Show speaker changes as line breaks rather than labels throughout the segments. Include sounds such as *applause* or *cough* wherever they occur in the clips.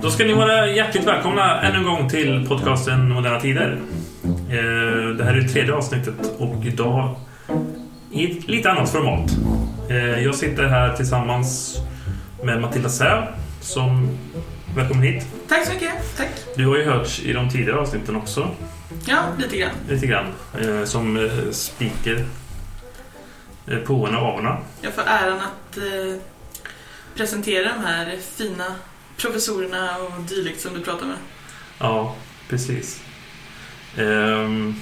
Då ska ni vara hjärtligt välkomna ännu en gång till podcasten Moderna Tider. Eh, Det här är det tredje avsnittet och idag i ett lite annat format. Eh, Jag sitter här tillsammans med Matilda Säv som... Välkommen hit.
Tack så mycket. Tack.
Du har ju hörts i de tidigare avsnitten också,
Ja, lite grann.
lite grann, eh, som eh, speaker eh, på och avorna.
Jag får äran att eh, presentera de här fina professorerna och dylikt som du pratar med.
Ja, precis. Ehm,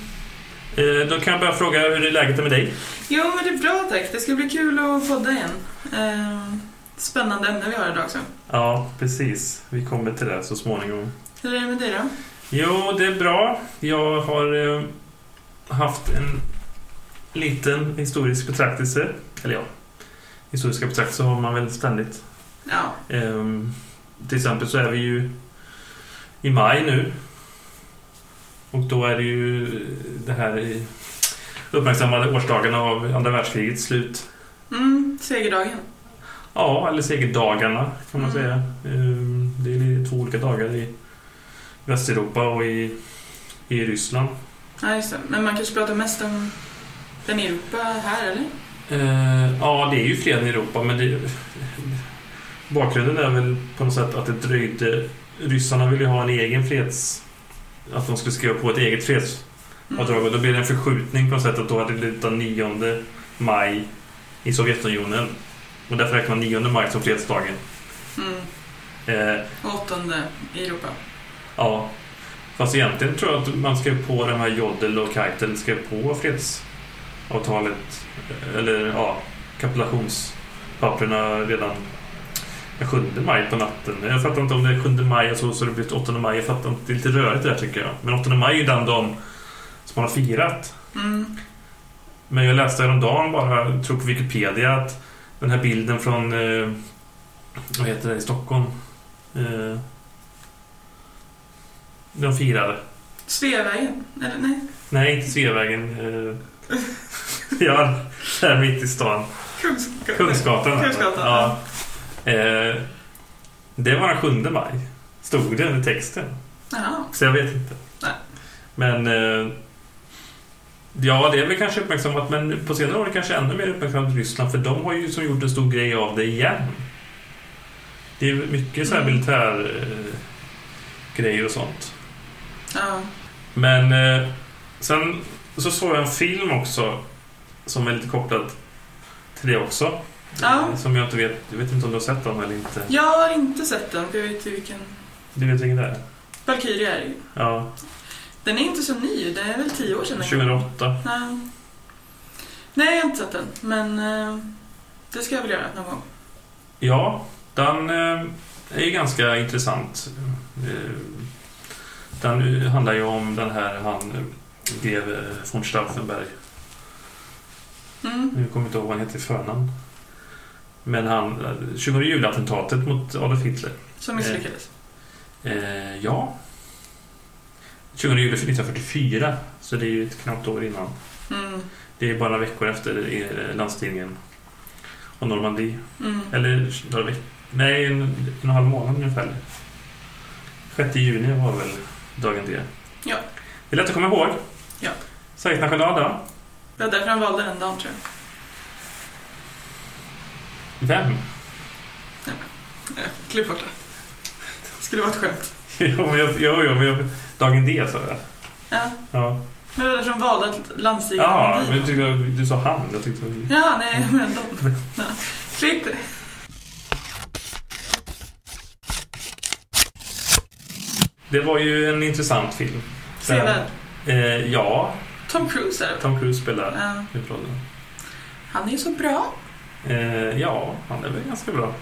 eh, Då kan jag bara fråga hur är läget är med dig?
Jo, men det är bra tack. Det ska bli kul att podda igen. Eh, spännande ämne vi har idag också.
Ja, precis. Vi kommer till det så småningom.
Hur är det med dig då?
Jo, det är bra. Jag har eh, haft en liten historisk betraktelse. Eller ja, historiska betraktelser har man väl ständigt.
Ja,
Ehm, till exempel så är vi ju i maj nu. Och då är det ju det här i- uppmärksammade årsdagen av andra världskrigets slut.
mm, segerdagen.
Ja, eller segerdagarna kan man
Mm.
säga. Ehm, det är två olika dagar i Västeuropa och i, i Ryssland.
Ja, just det. Men man kanske pratar mest om den Europa här, eller? Mm.
Eh, ja, det är ju freden i Europa, men det, bakgrunden är väl på något sätt att det dröjde. Ryssarna ville ju ha en egen freds... Att de skulle skriva på ett eget fredsavdrag.
Mm.
Och Då blev det en förskjutning på något sätt att då hade det blivit den 9 maj i Sovjetunionen. Och därför räknar man 9 maj som fredsdagen.
Mm.
Eh,
Och åttonde i Europa.
ja. Fast egentligen tror jag att man skrev på de här Jodl och Keitel skrev på fredsavtalet. Eller ja, kapitulationspapperna redan den 7 maj på natten. Jag fattar inte om det är 7 maj och så, så det blivit 8 maj. Jag fattar inte. Det är lite rörigt det där tycker jag. Men 8 maj är ju den dagen som man har firat.
Mm.
Men jag läste häromdagen bara, jag tror på Wikipedia, att den här bilden från, eh, vad heter det, i Stockholm. Eh, de firade.
Sveavägen? Eller nej?
Nej, inte Sveavägen. Eh, *laughs* ja, där mitt i stan.
Kungsgatan.
Kungsgatan.
Kungsgatan.
Ja. Eh, det var den 7 maj, stod det i texten.
Jaha.
Så jag vet inte.
Nej.
Men... Eh, ja, det är väl kanske uppmärksammat, men på senare år är det kanske ännu mer uppmärksammat i Ryssland, för de har ju som gjort en stor grej av det igen. Det är mycket så här
Mm.
militär eh, grejer och sånt.
Ja.
Men eh, sen så såg jag en film också som är lite kopplad till det också.
Ja.
Eh, Som jag inte vet, jag vet inte om du har sett den eller inte.
Jag har inte sett den, för jag vet ju vilken
Du vet vilken det är?
Valkyria är.
Ja,
Den är inte så ny, den är väl tio år sedan. den kom.
2008.
Nej. Nej, jag har inte sett den, men eh, det ska jag väl göra någon gång.
Ja, den eh, är ju ganska intressant. Eh, Den handlar ju om den här han, eh, greve von Stauffenberg.
Mm.
Nu kommer jag inte ihåg vad han heter i förnamn. Men han, eh, 20 juli-attentatet mot Adolf Hitler.
Som misslyckades.
Eh, ja. 20 juli 1944, så det är ju ett knappt år innan.
Mm.
Det är bara några veckor efter eh, landstigningen av Normandie.
Mm.
Eller några veckor. Nej, en, en och en halv månad ungefär. 6 juni var väl dagen det.
Ja.
Det är lätt att komma ihåg.
Ja.
Saknar choklad då?
Det var därför han valde den dagen, tror
Vem? *laughs*
jag. Eh, Klipp bort det. Det skulle vara ett skämt.
jo, men jag, jo, jo, men jag, dagen D sa jag.
Ja.
Ja,
Men det var därför han valde att landstiga
ja men typ-
Normandiet.
jag tyckte, du sa han. Jag tyckte,
Ja, nej, men de... Ja. Klipp det.
det var ju en intressant film.
Se där.
Eh, ja,
Tom Cruise är det.
Tom Cruise spelar
Ja.
huvudrollen.
Han är ju så bra.
Eh, ja, han är väl ganska bra.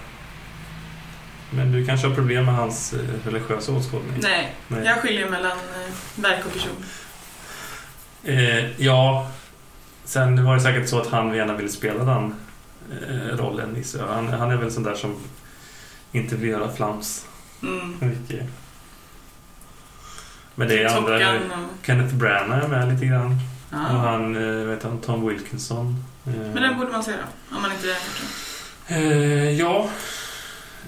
Men du kanske har problem med hans eh, religiösa åskådning?
Nej,
Nej.
jag skiljer mellan eh, verk och person.
Eh, ja, sen var det säkert så att han gärna ville spela den eh, rollen. Nisse. Han, han är väl sån där som inte vill göra flams
Mm.
mycket. Men det är
Top
andra...
Gun och...
Kenneth Branagh är med lite grann.
Ja.
Och han, eh, vet han, Tom Wilkinson. Eh,
Ah. Men den borde man se då, om man inte är borta.
eh, Ja.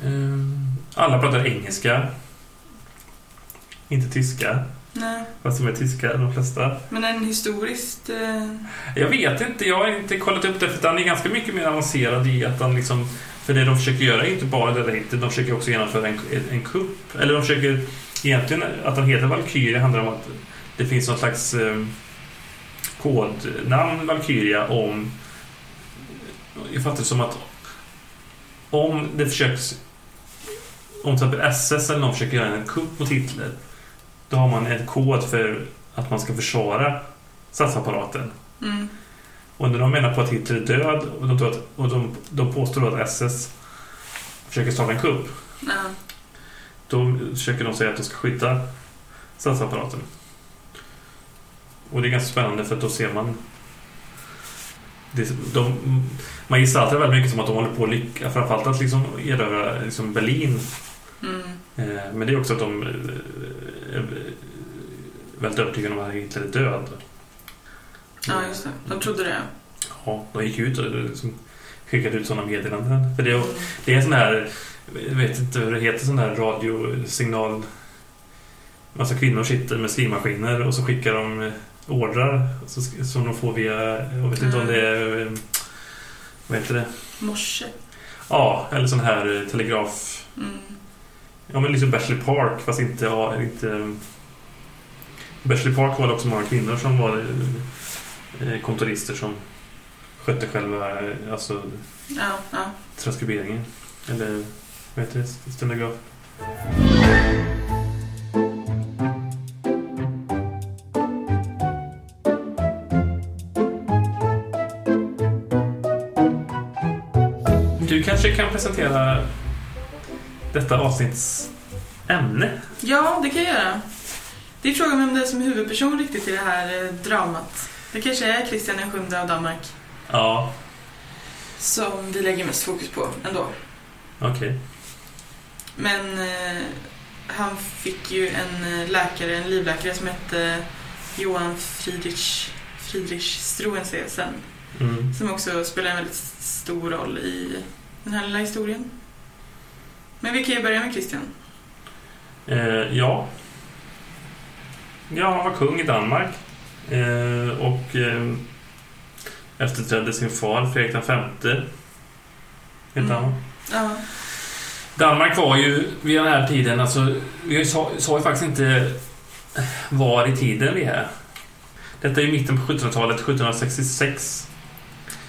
Eh, Alla pratar engelska. Inte tyska,
Nej.
fast de är tyska de flesta.
Men en historiskt... Eh,
Jag vet inte, jag har inte kollat upp det för han är ganska mycket mer avancerad i att han liksom... För det de försöker göra är inte bara det där inte, de försöker också genomföra en, en kupp. Eller de försöker... Egentligen, att han heter Valkyria handlar om att det finns någon slags eh, kodnamn Valkyria om... Jag fattar det som att om det försöks... Om till exempel SS eller någon försöker göra en kupp mot Hitler, då har man en kod för att man ska försvara statsapparaten.
mm,
Och när de menar på att Hitler är död och de, tror att, och de, de påstår att SS försöker starta en kupp,
ja.
då försöker de säga att de ska skydda statsapparaten. Och det är ganska spännande för att då ser man... Det, de, man gestaltar väldigt mycket som att de håller på att lyckas, framförallt att liksom erövra liksom Berlin.
Mm,
Eh, Men det är också att de eh, är väldigt övertygade om att Hitler är död.
ja, just det. De trodde det.
Ja, de gick ut och liksom skickade ut sådana meddelanden. För
Mm.
det, det är sån här, jag vet inte hur det heter, sån här radiosignal. Massa kvinnor sitter med skrivmaskiner och så skickar de eh, ordrar så sk- som de får via, jag vet inte om det är, eh, vad heter det?
Morse.
Ja, eller sån här eh, telegraf.
Mm.
Ja men liksom Bachelor Park fast inte... Ja, inte eh, Bachelor Park var det också många kvinnor som var eh, kontorister som skötte själva eh, alltså,
Ja, ja.
transkriberingen. Eller vad heter det? Stenograf. Du kanske kan presentera detta avsnitts ämne?
Ja, det kan jag göra. Det är frågan vem det är som är huvudperson riktigt i det här eh, dramat. Det kanske är Kristian den sjunde av Danmark
Ja,
som vi lägger mest fokus på ändå.
okej.
Men eh, han fick ju en eh, läkare, en livläkare som hette Johan Friedrich, Friedrich Struensesen
Mm.
som också spelar en väldigt stor roll i den här lilla historien. Men vi kan ju börja med Christian.
Eh, ja. Ja, han var kung i Danmark. Eh, och eh, efterträdde sin far Fredrik V. Hette
Mm.
han va?
Ja,
Danmark var ju vid den här tiden, alltså, vi sa, sa ju faktiskt inte var i tiden vi är. Detta är ju mitten på 1700-talet, 1766.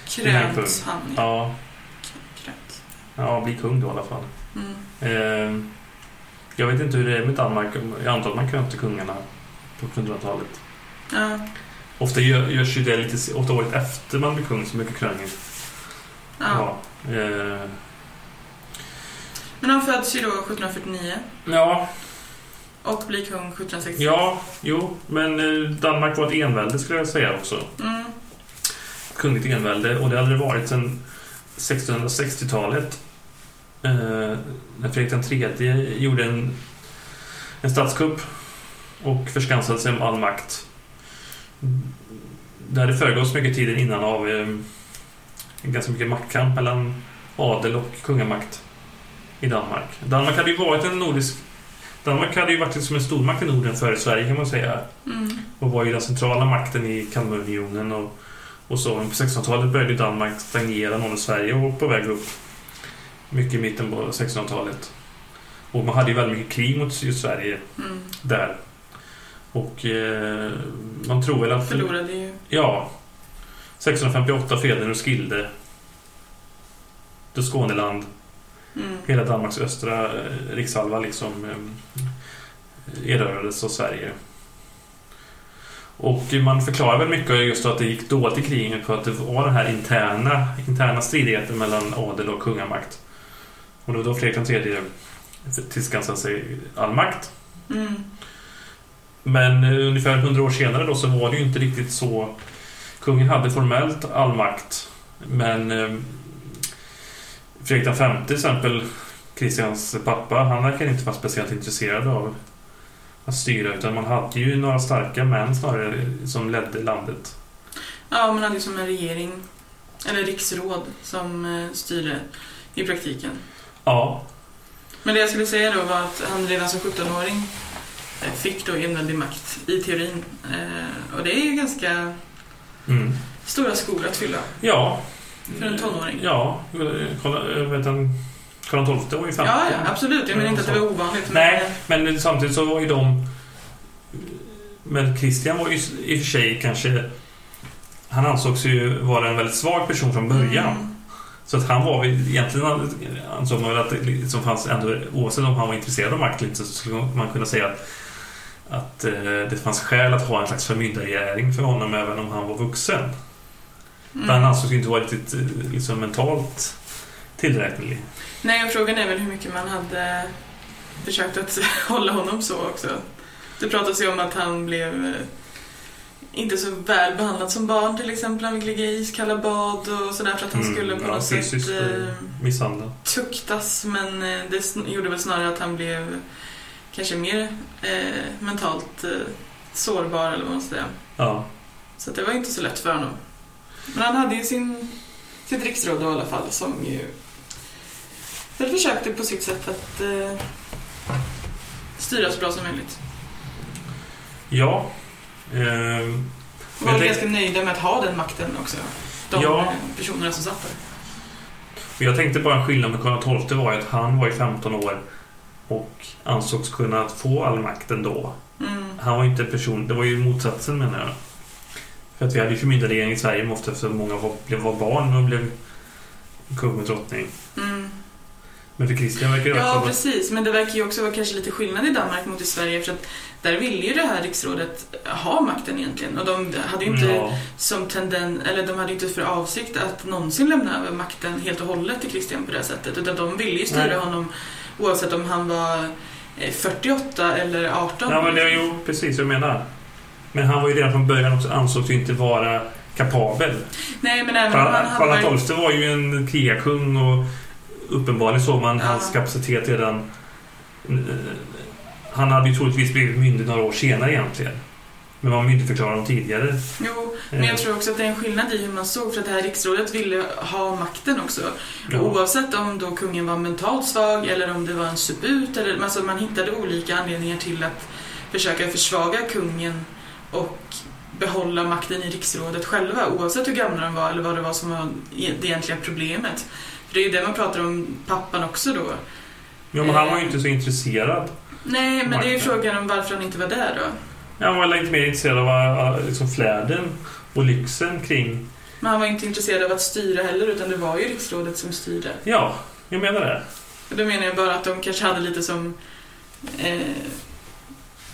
krönt han. Ja.
Ja,
Krönt.
ja, bli kung då i alla fall.
Mm.
Eh, jag vet inte hur det är med Danmark, jag antar att man krönte kungarna på 1700-talet.
Ja,
Ofta gör, görs ju det lite se- åtta året efter man blir kung, så mycket kröning.
ja.
Ja. Eh,
Men han föds ju då 1749
ja,
och blir kung 1760.
ja, jo, men eh, Danmark var ett envälde skulle jag säga också.
Mm.
Kungligt envälde, och det hade det varit sedan 1660-talet. Eh, när Fredrik III gjorde en, en statskupp och förskansade sig med all makt. Det hade föregåtts mycket tiden innan av eh, ganska mycket maktkamp mellan adel och kungamakt i Danmark. Danmark hade ju varit en nordisk... Danmark hade ju varit som en stormakt i Norden före Sverige kan man säga.
Mm.
Och var ju den centrala makten i Kalmarunionen och, och så. Men på 1600-talet började ju Danmark stagnera norra Sverige och var på väg upp. Mycket i mitten på 1600-talet. Och man hade ju väldigt mycket krig mot just Sverige
Mm.
där. Och eh, man tror väl att...
Förlorade ju.
Ja. 1658 freden och Skilde. Då Skåneland
Mm.
hela Danmarks östra eh, rikshalva liksom eh, erövrades av Sverige. Och man förklarar väl mycket just att det gick dåligt i kriget på att det var den här interna, interna stridigheten mellan adel och kungamakt. Och det var då Fredrik III tillskansade sig all makt.
Mm.
Men eh, ungefär 100 år senare då så var det ju inte riktigt så. Kungen hade formellt all makt. Men eh, Fredrik V till exempel, Kristians pappa, han verkar inte vara speciellt intresserad av att styra. Utan man hade ju några starka män snarare som ledde landet.
Ja, man hade ju som en regering, eller riksråd, som eh, styrde i praktiken.
Ja,
Men det jag skulle säga då var att han redan som 17-åring eh, fick då enväldig makt i teorin. Eh, Och det är ju ganska
Mm.
stora skor att fylla
Ja.
för en tonåring.
Ja, eh, kolla, vet han, Karl XII var ju
Ja,
fram.
ja absolut. Jag menar inte att det var ovanligt. men-
Nej, men samtidigt så var ju de... Men Christian var ju i och för sig kanske... Han ansågs ju vara en väldigt svag person från början.
Mm.
Så att han var väl egentligen ansåg man väl att det liksom fanns ändå, oavsett om han var intresserad av makt eller inte, så skulle man kunna säga att, att eh, det fanns skäl att ha en slags förmyndargärning för honom även om han var vuxen.
Mm.
För han ansågs ju inte vara riktigt eh, liksom, mentalt tillräcklig.
Nej, och frågan är väl hur mycket man hade försökt att *laughs* hålla honom så också. Det pratas ju om att han blev eh, inte så väl behandlad som barn till exempel. Han fick ligga i iskalla bad och sådär för att han
Mm,
skulle på
ja,
något
fysiskt,
sätt eh,
eh, Misshandel.
tuktas. Men eh, det sn- gjorde väl snarare att han blev kanske mer eh, mentalt eh, sårbar eller vad man ska säga.
Ja.
Så att det var inte så lätt för honom. Men han hade ju sin, sitt riksråd då, i alla fall som ju väl försökte på sitt sätt att eh, styra så bra som möjligt.
Ja. Ehm,
Och var
Men det-
ganska nöjda med att ha den makten också. De
Ja.
eh, personerna som satt där.
men jag tänkte bara en skillnad med Karl XII var ju att han var ju 15 år och ansågs kunna få all makt ändå.
Mm.
Han var ju inte en person, det var ju motsatsen menar jag. För att vi hade ju förmyndarregering i Sverige men ofta så många var, blev- var barn och blev kung och drottning.
Mm.
Men för Kristian verkar det också
Ja,
vara-
precis. Men det verkar ju också vara kanske lite skillnad i Danmark mot i Sverige för att där ville ju det här riksrådet ha makten egentligen och de hade ju inte
Ja.
som tenden, eller de hade inte för avsikt att någonsin lämna över makten helt och hållet till Christian på det här sättet utan de ville ju styra
Nej.
honom oavsett om han var eh, 48 eller 18.
Ja, men det, jo, precis vad jag menar. Men han var ju redan från början också ansågs ju inte vara kapabel.
Nej men även om han hade varit...
Karl XII var ju en krigarkung och uppenbarligen såg man
Ja.
hans kapacitet redan... eh, Han hade ju troligtvis blivit myndig några år senare egentligen. Men man myndigförklarar honom tidigare.
Jo, men jag
Eh,
tror också att det är en skillnad i hur man såg för att det här riksrådet ville ha makten också.
ja.
Och Oavsett om då kungen var mentalt svag eller om det var en subut. Eller, alltså man hittade olika anledningar till att försöka försvaga kungen och behålla makten i riksrådet själva oavsett hur gamla de var eller vad det var som var e- det egentliga problemet. För det är ju det man pratar om pappan också då.
Ja, men han var ju inte så intresserad.
Nej, men det är ju
Marknaden.
frågan om varför han inte var där då.
Han var lite mer intresserad av eh, liksom, flärden och lyxen kring...
Men han var inte intresserad av att styra heller utan det var ju riksrådet som styrde.
Ja, jag menar det.
Och Då menar jag bara att de kanske hade lite som eh,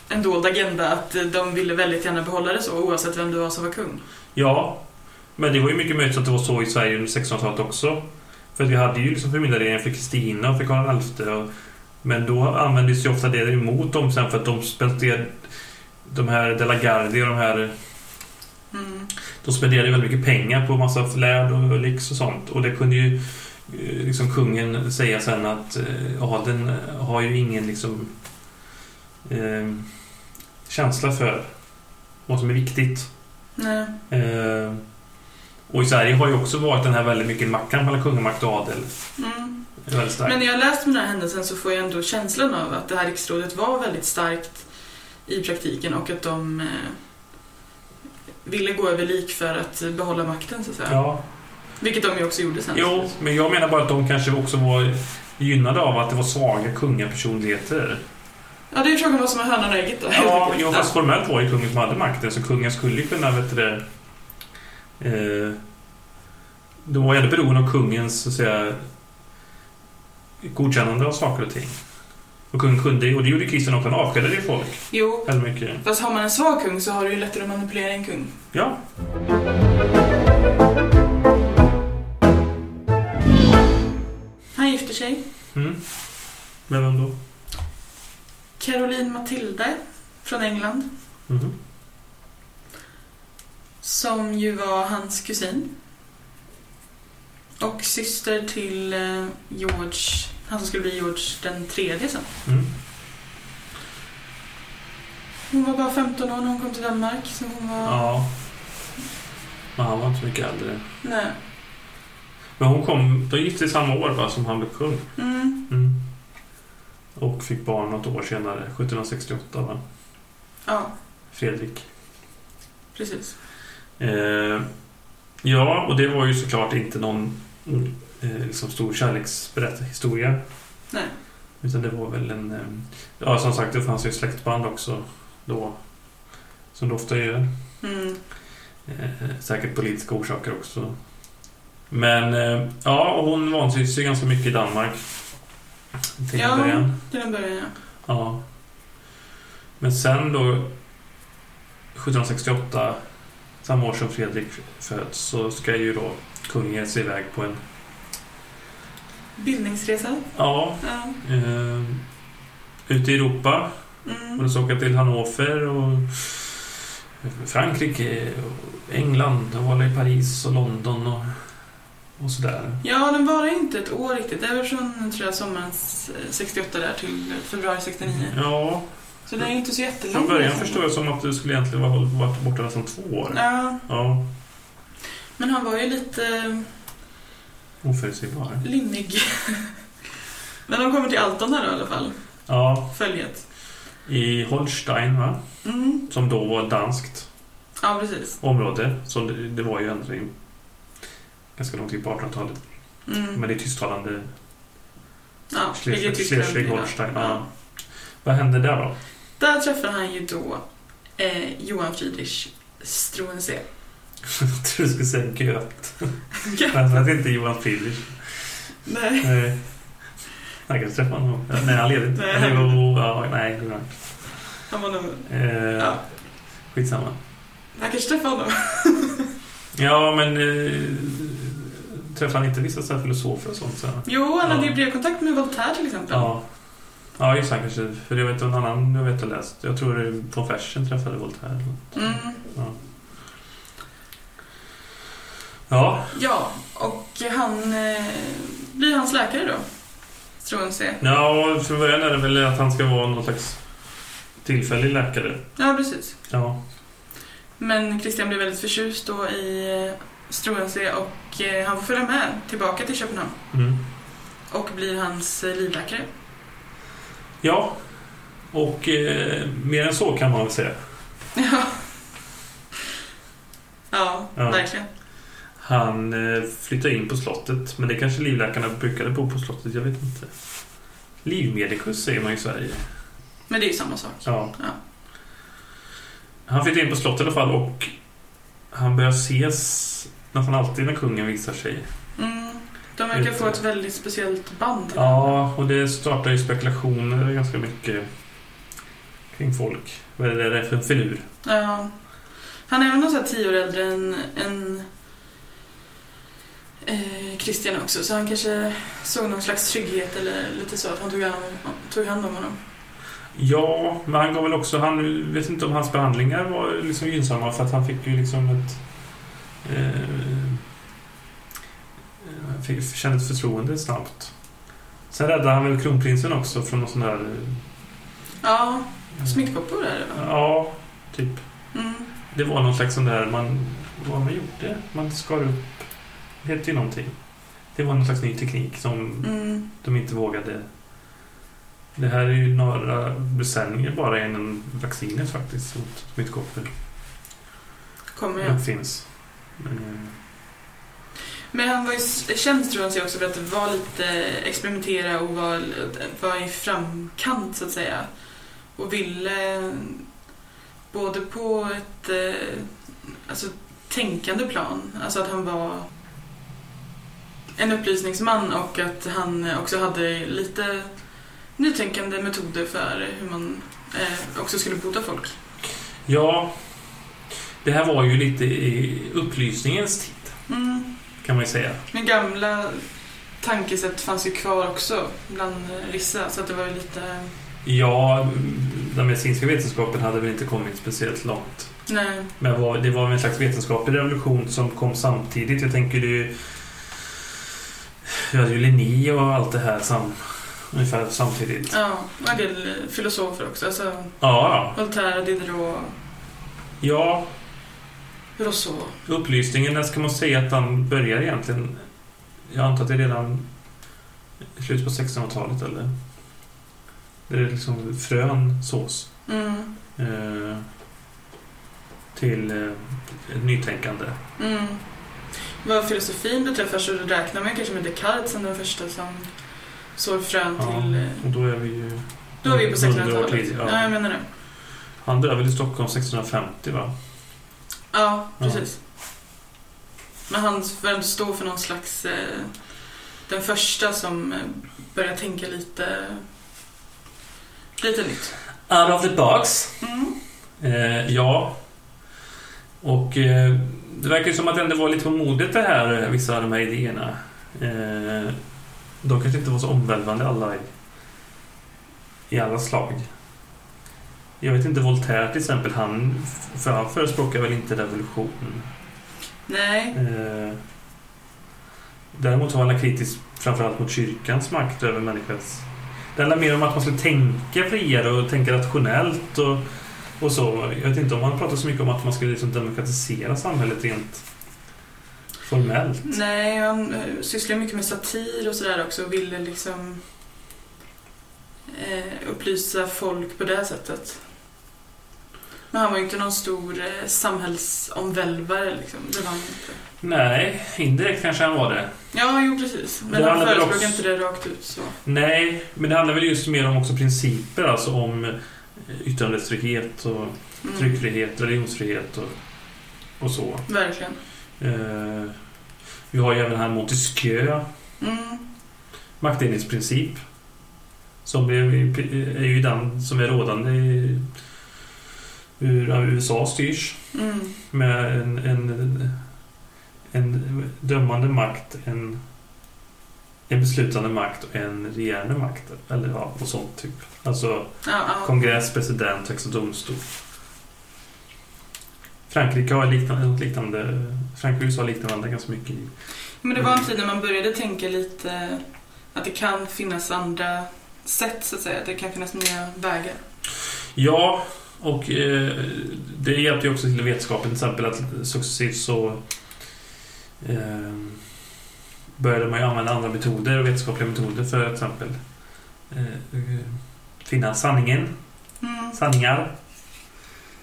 en dold agenda att eh, de ville väldigt gärna behålla det så oavsett vem det var som var kung.
Ja, men det var ju mycket möjligt att det var så i Sverige under 1600-talet också. För att vi hade ju liksom förmyndarregeringen för Kristina och för Karl XI. Och, men då användes ju ofta det emot dem sen för att de spenderade... De här De la Gardie och de här...
Mm.
De spenderade ju väldigt mycket pengar på massa flärd och och lyx och sånt. Och det kunde ju eh, liksom kungen säga sen att eh, adeln har ju ingen liksom... Eh, känsla för vad som är viktigt.
Nej. Mm.
Eh, och i Sverige har ju också varit den här väldigt mycket mackan mellan kungamakt och adel.
Mm.
Det är Väldigt starkt.
Men när jag läst om den här händelsen så får jag ändå känslan av att det här riksrådet var väldigt starkt i praktiken och att de eh, ville gå över lik för att behålla makten så att säga.
ja.
Vilket de ju också gjorde sen.
Jo, men jag menar bara att de kanske också var gynnade av att det var svaga kungapersonligheter.
Ja, det är frågan vad som är hönan och ägget då.
Ja, jo, fast formellt var det kungen som hade makten, så kungen skulle ju kunna, vet du det, eh, De var ju ändå beroende av kungens, så att säga, godkännande av saker och ting. Och kungen kunde ju, och det gjorde Kristian också, han avskedade ju folk
Jo,
väldigt mycket.
fast har man en svag kung så har du ju lättare att manipulera en kung.
Ja.
Han gifter sig.
Mm. Men vem då?
Caroline Matilde från England
Mhm.
som ju var hans kusin och syster till eh, George, han som skulle bli George den tredje sen.
Mm.
Hon var bara 15 år när hon kom till Danmark så hon var...
Ja. Men han var inte så mycket äldre.
Nej.
Men hon kom, de gifte sig samma år va, som han blev kung.
Mm.
Mm. Och fick barn något år senare, 1768, va?
Ja,
Fredrik.
precis.
Eh, ja, och det var ju såklart inte någon eh, liksom stor kärlekshistoria.
Nej.
Utan det var väl en... Eh, ja, som sagt, det fanns ju släktband också då. Som det ofta gör.
Mm.
Eh, säkert politiska orsaker också. Men eh, ja, och hon vantrivs ju ganska mycket i Danmark. Till
Ja.
en början.
Till eh, en början, ja.
Ja. Men sen då 1768, samma år som Fredrik föds, så ska ju då kungen ge sig iväg på en...
Bildningsresa.
Ja,
Ja.
eh, ute i Europa. Och
Mm.
de ska åka till Hannover och Frankrike och England. De håller i Paris och London och, och sådär.
Ja, den varar inte ett år riktigt. Det är väl från, tror jag, sommaren s- 68 där till februari 69.
Ja,
Så det är ju inte så jättelång.
Mm. från början förstår jag som att du skulle egentligen ha hållit- varit borta nästan två år.
Ja,
Ja,
men han var ju lite eh,
oförutsägbar.
lynnig. *laughs* men de kommer till Alton här då i alla fall.
Ja,
Följet.
i Holstein va?
Mm.
Som då var danskt
Ja, precis.
område. Så det, det var ju ändå i- ganska långt in på 1800-talet.
Mm.
Men det är tysktalande
Ja, ligger i Tyskland
Schleswig-Holstein.
idag.
Ja. Vad hände där då? *laughs*
Där träffar han ju då eh, Johan Friedrich Struensee.
Jag trodde du skulle säga Göt.
Göt.
Men det inte Johan Friedrich.
Nej.
Nej. Han kanske träffade honom. Ja, Nej, han levde inte.
Nej.
Eller jo, ja, nej. det var-
Han var nog...
Eh,
Ja.
Skitsamma.
Han kanske träffade honom.
Ja, men eh, träffade han inte vissa så här filosofer och sånt? Så?
Jo, han hade
Ja.
ju brevkontakt med Voltaire till exempel.
Ja. Ja, just det. kanske. För jag vet en annan jag vet jag läst. Jag tror det är von Fersen träffade Voltaire. eller något.
Mm.
Ja.
Ja, och han eh, blir hans läkare då. Struensee.
ja, och från början är det väl att han ska vara någon slags tillfällig läkare.
Ja, precis.
Ja.
Men Christian blir väldigt förtjust då i eh, Struensee och eh, han får följa med tillbaka till Köpenhamn
Mm.
och blir hans eh, livläkare. *laughs*
Ja. Och eh, mer än så kan man väl säga.
Ja. ja,
Ja.
verkligen.
Han eh, flyttade in på slottet, men det kanske livläkarna brukade bo på slottet, jag vet inte. Livmedikus säger man i Sverige.
Men det är ju samma sak.
Ja.
Ja.
Han flyttade in på slottet i alla fall och han börjar ses nästan alltid när kungen visar sig.
Mm. De verkar få ett väldigt speciellt band.
Ja, och det startar ju spekulationer ganska mycket kring folk. Vad är det där för en filur?
Ja. Han är även någon så här tio år äldre än, än eh, Christian också, så han kanske såg någon slags trygghet eller lite så, att han tog hand, tog hand om honom.
Ja, men han gav väl också... Han vet inte om hans behandlingar var liksom gynnsamma för att han fick ju liksom ett... Eh, han fick, kände ett förtroende snabbt. Sen räddade han väl kronprinsen också från någon sån där...
Ja,
eh,
smittkoppor är det va?
Ja, typ.
Mm.
Det var någon slags sån där... Man, vad man gjorde? Man skar upp... Det hette ju någonting. Det var någon slags ny teknik som
Mm.
de inte vågade... Det här är ju några decennier bara innan vaccinet faktiskt mot smittkoppor
Kommer jag.
ja. finns. Men, eh,
Men han var ju s- känd tror jag också för att vara lite experimentera och var, var i framkant så att säga. Och ville både på ett eh, alltså, tänkande plan, alltså att han var en upplysningsman och att han också hade lite nytänkande metoder för hur man eh, också skulle bota folk.
ja, det här var ju lite i upplysningens tid
Mm.
kan man ju säga.
Men gamla tankesätt fanns ju kvar också bland eh, vissa så att det var ju lite eh,
Ja, den medicinska vetenskapen hade väl inte kommit speciellt långt.
Nej.
Men var, det var väl en slags vetenskaplig revolution som kom samtidigt. Jag tänker ju... Vi hade ju Linné och allt det här sam, ungefär samtidigt.
Ja, och en del eh, filosofer också. Alltså
Ja,
Voltaire, Diderot,
ja.
Rousseau.
Upplysningen, där ska man säga att den börjar egentligen... Jag antar att det är redan i slutet på 1600-talet, eller? Det är liksom frön sås
Mm.
eh, till eh, ett nytänkande.
Mm. Vad filosofin beträffar så räknar man kanske med Descartes som den första som sår frön
Ja.
till... eh,
Och då är vi ju...
Då är vi på
100 år
1600-talet.
tidigare,
Ja.
ja.
jag menar det.
Han dör väl i Stockholm 1650 va?
Ja,
Ja.
precis. Men han väl står för någon slags... Eh, den första som eh, börjar tänka lite... Lite nytt.
Out of the box.
Mm.
Eh, ja. Och eh, det verkar ju som att det ändå var lite på modet det här, eh, vissa av de här idéerna. Eh, de kanske inte var så omvälvande alla i, i alla slag. Jag vet inte, Voltaire till exempel, han, för han förespråkar väl inte revolution.
Nej.
Eh, däremot var han kritisk framförallt mot kyrkans makt över människans... Det handlar mer om att man skulle tänka friare och tänka rationellt och, och så. Jag vet inte om han pratar så mycket om att man skulle liksom demokratisera samhället rent formellt.
Nej, han eh, sysslar mycket med satir och sådär också och ville liksom eh, upplysa folk på det sättet. Men han var ju inte någon stor eh, samhällsomvälvare liksom. Det var han inte.
Nej, indirekt kanske han var det.
Ja, jo precis. Men
Det
han
handlar väl
förespråkade
också-
inte det rakt ut så.
Nej, men det handlar väl just mer om också principer, alltså om eh, yttrandefrihet och
Mm,
tryckfrihet, religionsfrihet och, och så.
Verkligen.
Eh, vi har ju även här Montesquieu
Mm,
maktdelningsprincip. Som blev, är ju den som är rådande i, hur USA styrs.
mm,
Med en, en, en dömande makt, en, en beslutande makt och en regerande makt. Eller ja, och sånt typ. Alltså
ja, ja.
kongress, president, högsta domstol. Frankrike har liknande, något liknande, Frankrike och USA har liknande ganska mycket. i-
Men det var en tid när man började tänka lite eh, att det kan finnas andra sätt så att säga. Det kan finnas nya vägar.
Ja, och eh, det hjälpte ju också till vetskapen till exempel att successivt så eh, började man ju använda andra metoder, vetenskapliga metoder för till exempel eh, eh, finna sanningen,
Mm.
sanningar.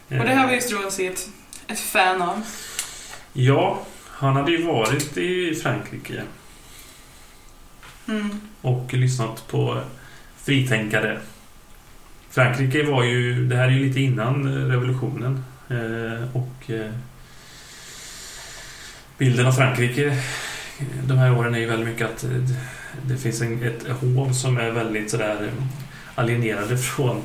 Och det här var
Eh,
just Roensee ett, ett fan av.
Ja, han hade ju varit i Frankrike
Mm.
och lyssnat på fritänkare. Frankrike var ju, det här är ju lite innan revolutionen eh, och eh, bilden av Frankrike eh, de här åren är ju väldigt mycket att eh, det- det finns en, ett hov som är väldigt sådär eh, alienerade från,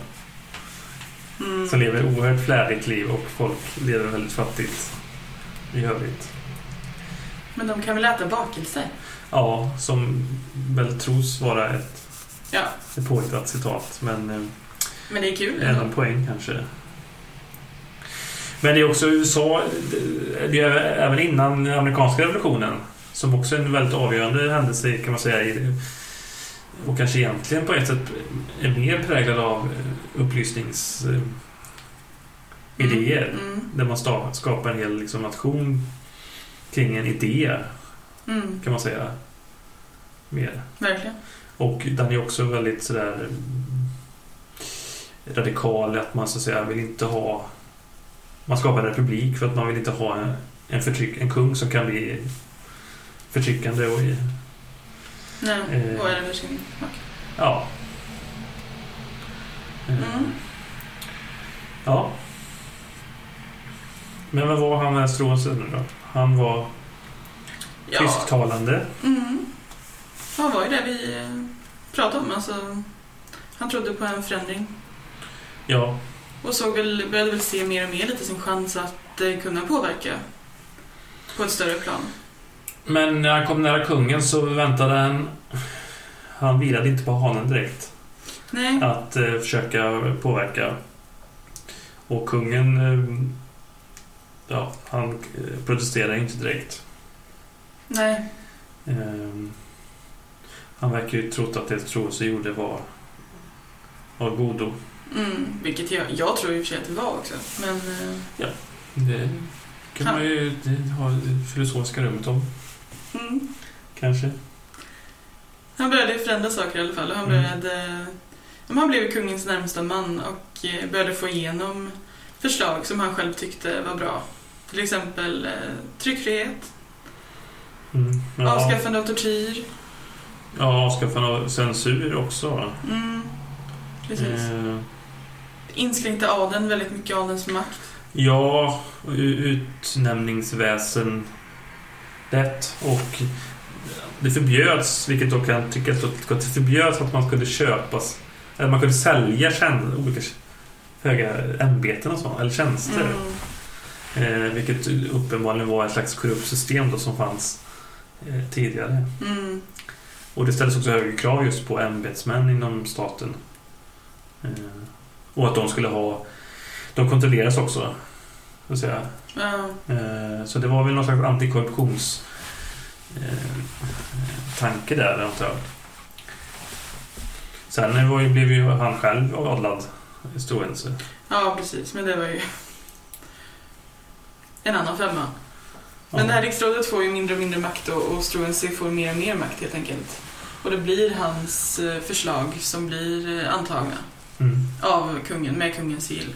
Mm.
som lever ett oerhört flärdigt liv och folk lever väldigt fattigt i övrigt.
Men de kan väl äta bakelser?
Ja, som väl tros vara ett,
Ja.
ett påhittat citat men eh,
Men det är kul.
En av poäng kanske. Men det är också USA, det är även innan den amerikanska revolutionen, som också är en väldigt avgörande händelse kan man säga. i- Och kanske egentligen på ett sätt är mer präglad av eh, upplysningsidéer.
Mm.
Där man sta- skapar en hel liksom, nation kring en idé,
Mm. Mm.
kan man säga. Mer.
Verkligen.
Och den är också väldigt sådär eh, radikal att man så att säga vill inte ha... Man skapar en republik för att man vill inte ha en, en, förtryck, en kung som kan bli förtryckande och... i-
Nej.
Eh.
Och är över sin makt.
Ja. Eh,
Mm.
Ja. Men vad var han Stroensen nu då? Han var
Ja.
tysktalande.
Mm. Vad var ju det vi eh, pratade om? Alltså, han trodde på en förändring.
Ja.
Och såg väl, började väl se mer och mer lite sin chans att eh, kunna påverka på ett större plan.
Men när han kom nära kungen så väntade han... Han vilade inte på hanen direkt.
Nej.
att eh, försöka påverka. Och kungen, eh, ja, han eh, protesterar ju inte direkt.
Nej.
Eh, han verkar ju trott att det Troelse gjorde var av godo.
Mm. Vilket jag, jag tror i och för sig att det var också. Men eh,
Det kan man ju det, ha det filosofiska rummet om,
mm.
kanske.
Han började förändra saker i alla fall och han
Mm.
började Men han blev kungens närmsta man och eh, började få igenom förslag som han själv tyckte var bra. Till exempel eh, tryckfrihet,
Mm. Ja,
avskaffande av tortyr.
ja avskaffande av censur också. va?
Mm, precis.
Eh,
Inskränkte adeln väldigt mycket, adelns makt.
Ja, u- utnämningsväsen det och det förbjöds, vilket då kan tyckas låta gott, det förbjöds att man kunde köpas eller man kunde sälja tjän- olika höga ämbeten och sånt, eller tjänster.
Mm,
Eh, vilket uppenbarligen var ett slags korrupt system då som fanns eh, tidigare.
mm,
Och det ställdes också högre krav just på ämbetsmän inom staten. Eh, och att de skulle ha... De kontrolleras också. Så att säga.
ja.
Eh, Så det var väl någon slags antikorruptions eh, tanke där, antar jag. Sen var ju, blev ju han själv adlad i ståelse.
ja, precis. Men det var ju *laughs* en annan femma. Men det här riksrådet får ju mindre och mindre makt och, och Struensee får mer och mer makt helt enkelt. Och det blir hans eh, förslag som blir eh, antagna
Mm.
av kungen, med kungens sigill.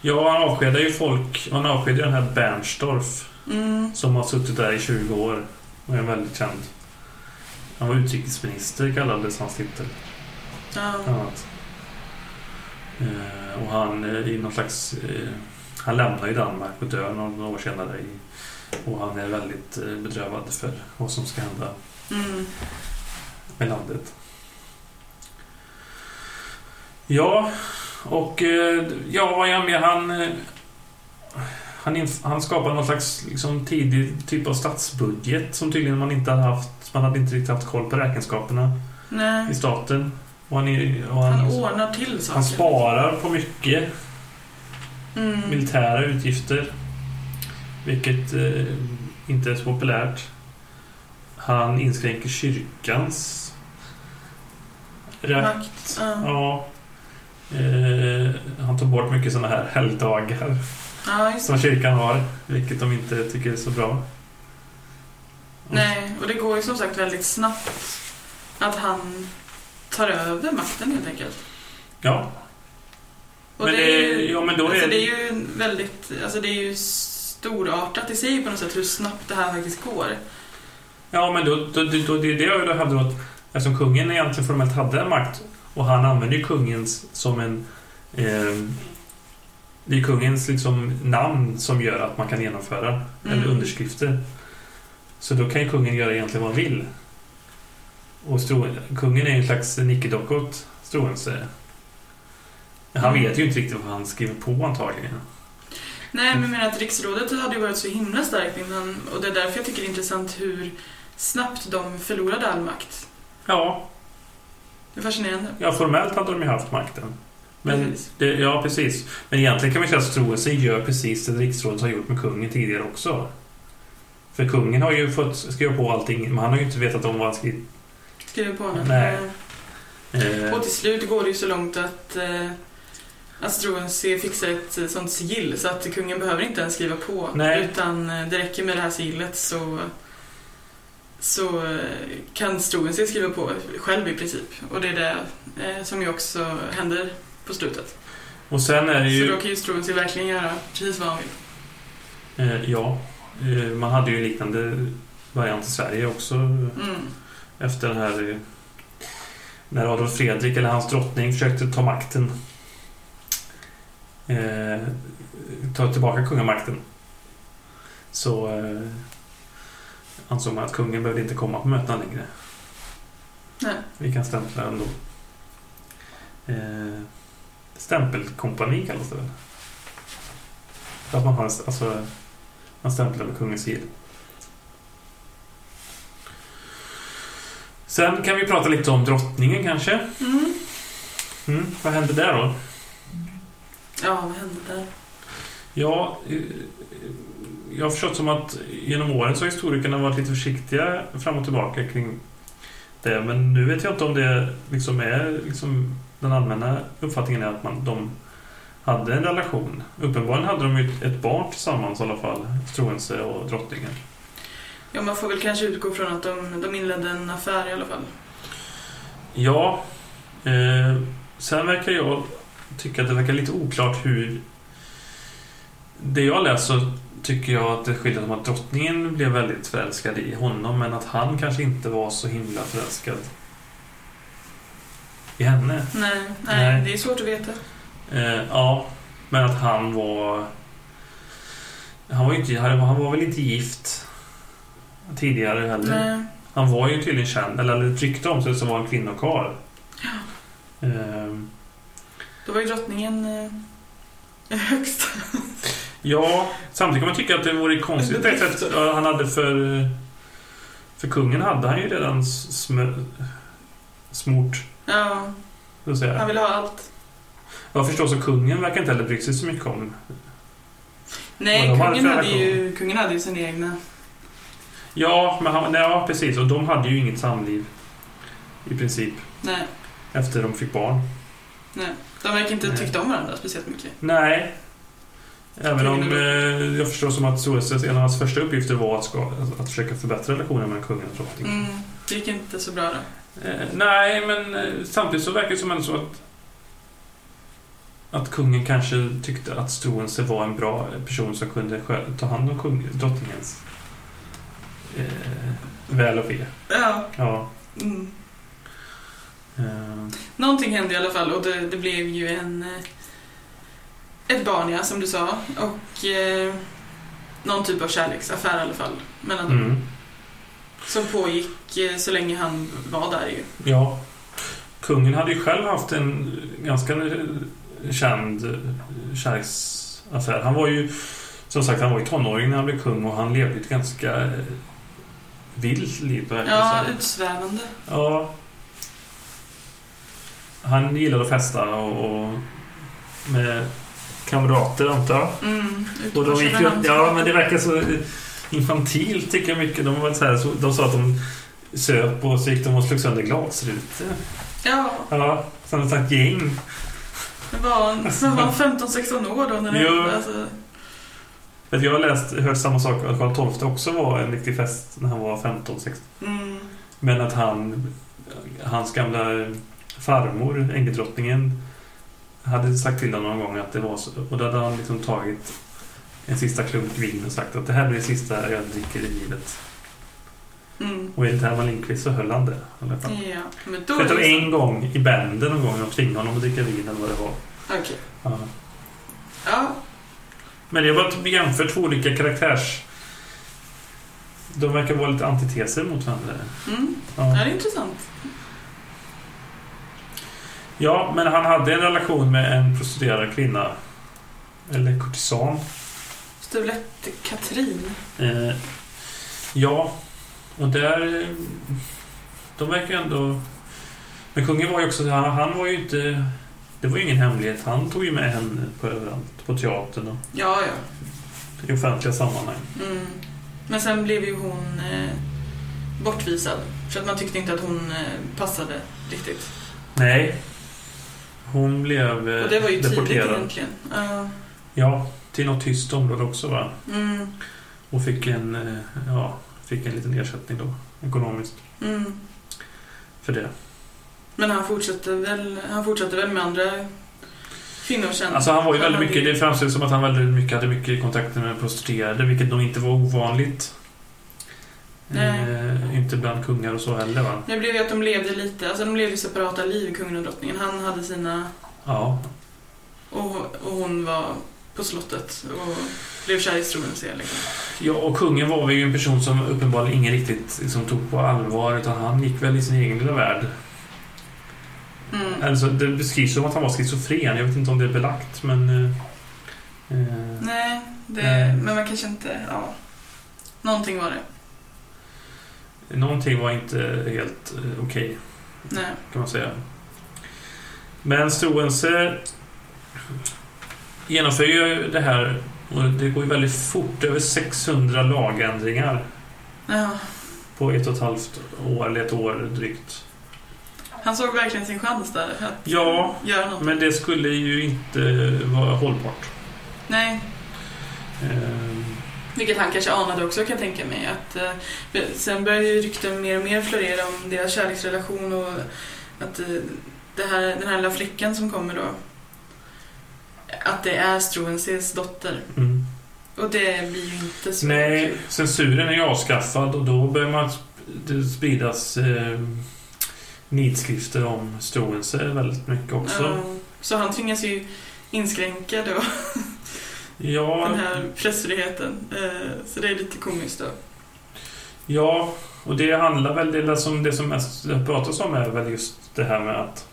Ja, han avskedar ju folk. Han avskedar den här Bernstorff
Mm,
som har suttit där i 20 år och är väldigt känd. Han var utrikesminister kallades hans titel.
ja,
bland annat. Eh, Och han eh, i någon slags... eh, Han lämnar ju Danmark och dör några år senare. I, och han är väldigt eh, bedrövad för vad som ska hända
mm,
med landet. Ja, och eh, ja, vad jag med han... eh, Han, inf- han skapade någon slags liksom, tidig typ av statsbudget som tydligen man inte hade haft. Man hade inte riktigt haft koll på räkenskaperna i
nej.
staten. Och han, är- och
Han ordnar till saker.
han sparar på mycket
Mm,
militära utgifter. Vilket eh, inte är så populärt. Han inskränker kyrkans rätt.
makt. Ja,
Ja. Eh, han tar bort mycket sådana här helgdagar
ja just det.
som kyrkan har. Vilket de inte tycker är så bra.
Nej, och det går ju som sagt väldigt snabbt att han tar över makten helt enkelt.
Ja.
Och
Men
det är
det-
ju,
ja, men då är
alltså,
det-
det är ju en väldigt, alltså det är ju storartat i sig på något sätt hur snabbt det här faktiskt går.
Ja, men då, då, då, då, det är det jag då hävdar att eftersom kungen egentligen formellt hade makt och han använde ju kungens som en... Eh, det är kungens liksom namn som gör att man kan genomföra, eller
Mm.
underskrifter. Så då kan ju kungen göra egentligen vad han vill. Och stro, kungen är ju en slags nickedocka åt Stroense. Men Han
Mm.
vet ju inte riktigt vad han skriver på antagligen.
Nej, men jag menar att riksrådet hade ju varit så himla starkt innan och det är därför jag tycker det är intressant hur snabbt de förlorade all makt.
Ja,
Det är fascinerande.
ja formellt hade de ju haft makten. Men
Precis.
Det, ja, precis. Men egentligen kan man säga att Stroessy gör precis det riksrådet har gjort med kungen tidigare också. För kungen har ju fått skriva på allting, men han har ju inte vetat om vad han skrivit.
Skriver på honom.
Nej. Eh,
Och till slut går det ju så långt att eh, Astroense fixar ett eh, sånt sigill så att kungen behöver inte ens skriva på.
Nej.
Utan eh, det räcker med det här sigillet så, så eh, kan Astroense skriva på själv i princip. Och det är det eh, som ju också händer på slutet.
och sen är det ju...
Så då kan ju Astroense verkligen göra precis vad han vill.
Eh, ja. Eh, man hade ju en liknande variant i Sverige också
Mm.
efter den här... eh, När Adolf Fredrik, eller hans drottning, försökte ta makten. Eh, ta tillbaka kungamakten. Så eh, ansåg man att kungen behövde inte komma på mötena längre.
Nej.
Vi kan stämpla ändå. Eh, stämpelkompani kallas det väl? För att man, har, en st- alltså, man stämplar med kungens sigill. Sen kan vi prata lite om drottningen kanske.
Mm.
Mm, vad hände där då?
Ja, vad hände där?
Ja, eh, jag har förstått som att genom åren så har historikerna varit lite försiktiga fram och tillbaka kring det. Men nu vet jag inte om det liksom är liksom den allmänna uppfattningen är att man, de hade en relation. Uppenbarligen hade de ju ett- ett barn tillsammans i alla fall, Struensee och drottningen.
Ja, man får väl kanske utgå från att de, de inledde en affär i alla fall.
Ja, Eh, sen verkar jag tycka att det verkar lite oklart hur... Det jag läser tycker jag att det skiljer som att drottningen blev väldigt förälskad i honom men att han kanske inte var så himla förälskad i henne.
Nej, nej,
Nej.
det är svårt att veta.
Eh, ja, men att han var... Han var, ju inte, han var, han var väl inte gift tidigare heller?
Nej.
Han var ju tydligen känd, eller hade ett rykte om sig som var en kvinnokarl. Ehm,
Då var ju drottningen eh, *laughs* högst.
Ja, samtidigt kan man tycka att det vore konstigt på ett sätt. Ja, Han hade för... För kungen hade han ju redan smö, smort,
Ja,
så att säga.
han ville ha allt.
Jag förstår så kungen verkar inte heller bry sig så mycket om...
Nej,
Men de hade
kungen, hade
flera
ju, kungen hade ju sina egna.
Ja, men han, nej, ja, precis. Och de hade ju inget samliv. I princip.
Nej,
Efter de fick barn.
de verkar inte ha
Nej.
tyckt om varandra speciellt mycket.
Nej. Även om
Kungen
eh, jag förstår som att Solstedt, en av hans första uppgifter var att, ska, att försöka förbättra relationen mellan kungen och drottningen.
Mm, det gick inte så bra då.
Eh, nej, men eh, samtidigt så verkar det som ändå så att att kungen kanske tyckte att Struensee var en bra person som kunde skö- ta hand om kung, drottningens eh, väl och ve.
Ja,
Ja.
mm.
Eh,
Någonting hände i alla fall och det, det blev ju en... eh, Ett barn ja, som du sa. Och eh, någon typ av kärleksaffär i alla fall. Mellan dem.
mm.
Som pågick eh, så länge han var där ju.
Ja. Kungen hade ju själv haft en ganska eh, känd eh, kärleksaffär. Han var ju, som sagt, han var ju tonåring när han blev kung och han levde ett ganska eh, vilt liv. verkar det
Ja,
som.
utsvävande.
ja. Han gillade att festa och, och med kamrater, antar jag.
Mm, ut
Och
på
de gick ju,
Köpenhamns-
ja, men det verkar så infantilt tycker jag mycket. De, var väl så här, så, de sa att de söp och så gick de och slog sönder glasrutor.
Ja,
Ja, som ett sagt gäng.
men var han, men var han 15-16 år då? När det
Jo.
hände, alltså.
För att jag har läst, hört samma sak, att Karl XII också var en riktig fest när han var 15-16.
mm,
Men att han, hans gamla farmor, änkedrottningen, hade sagt till honom någon gång att det var så. Och då hade han liksom tagit en sista klunk vin och sagt att det här blir det sista jag dricker i livet.
mm.
Och enligt Herman Lindqvist så höll han det. i alla fall.
Ja, men då... är
Förutom
det så-
en gång i bänden någon gång, de tvingade honom att dricka vin eller vad det var.
Okej.
Ja.
Ja,
Men jag bara jämför två olika karaktärs... De verkar vara lite antiteser mot varandra.
mm. ja, det
Ja.
är intressant.
ja, men han hade en relation med en prostituerad kvinna. Eller kurtisan.
Stulett Katrin.
Eh, ja, och där... eh, De verkar ändå... Men kungen var ju också... Han, han var ju inte... Det var ju ingen hemlighet. Han tog ju med henne på överallt. På teatern och
Ja, ja.
i offentliga sammanhang.
Mm. Men sen blev ju hon eh, bortvisad. För att man tyckte inte att hon eh, passade riktigt.
Nej. Hon blev eh,
Och det var ju tidigt
deporterad.
egentligen. Ja.
Ja, till något tyst område också va?
Mm.
Och fick en, eh, ja, fick en liten ersättning då, ekonomiskt,
Mm.
för det.
Men han fortsatte väl, han fortsatte väl med andra kvinnor sen.
Alltså han var ju
Han
väldigt
hade
mycket,
ju-
det framställs som att han väldigt mycket hade mycket kontakter med prostituerade, vilket nog inte var ovanligt.
Nej.
Eh, inte bland kungar och så heller va?
Nu blev det att de levde lite, alltså de levde separata liv, kungen och drottningen. Han hade sina,
Ja.
och, och hon var på slottet och blev kär i Struensee liksom.
ja, och kungen var ju en person som uppenbarligen ingen riktigt liksom, tog på allvar, utan han gick väl i sin egen lilla värld.
Mm.
Alltså, det beskrivs som att han var schizofren, jag vet inte om det är belagt, men... eh, eh,
Nej, det,
Nej.
men man kanske inte, ja. Någonting var det.
Någonting var inte helt eh, okej,
Nej.
kan man säga. Men Struensee genomför ju det här och det går ju väldigt fort. Över 600 lagändringar
Ja.
på ett och ett halvt år, eller ett år drygt.
Han såg verkligen sin chans där att
Ja,
göra något.
Men det skulle ju inte vara hållbart.
Nej,
Eh,
vilket han kanske anade också kan jag tänka mig. Att, eh, sen började ju rykten mer och mer florera om deras kärleksrelation och att eh, det här, den här lilla flickan som kommer då. Att det är Struensees dotter.
Mm.
Och det blir ju inte så
Nej,
kul.
censuren är ju avskaffad och då börjar man sp- det spridas eh, nidskrifter om Struensee väldigt mycket också.
Ja, så han tvingas ju inskränka då
Ja,
den här pressfriheten. Eh, Så det är lite komiskt då.
ja, och det handlar väl det som det som mest pratas om är väl just det här med att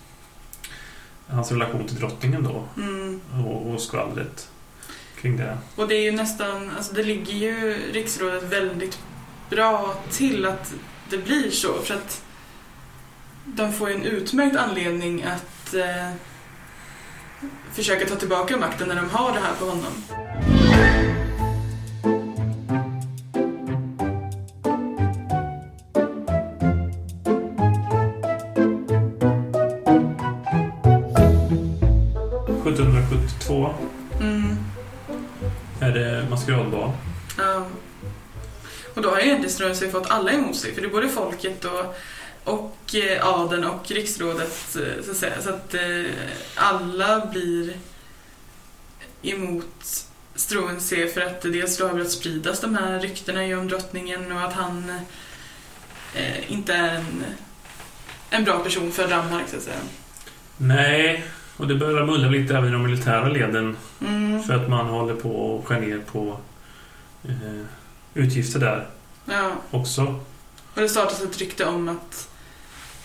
hans relation till drottningen då
Mm.
och, och skvallret kring det.
Och det är ju nästan, alltså det ligger ju riksrådet väldigt bra till att det blir så för att de får ju en utmärkt anledning att eh, försöka ta tillbaka makten när de har det här på honom.
Mm. 1772
Mm.
är det maskeradbal.
Ja. Och då har ju egentligen Strömsö fått alla emot sig, för det är både folket och, och eh, adeln och riksrådet, eh, så att säga. Så att eh, alla blir emot Struensee för att det dels då har börjat spridas de här ryktena ju om drottningen och att han eh, inte är en, en bra person för Danmark, så att säga.
Nej, och det börjar mullra lite även i de militära leden
Mm.
För att man håller på och skär ner på eh, utgifter där
Ja.
också.
Och det startas ett rykte om att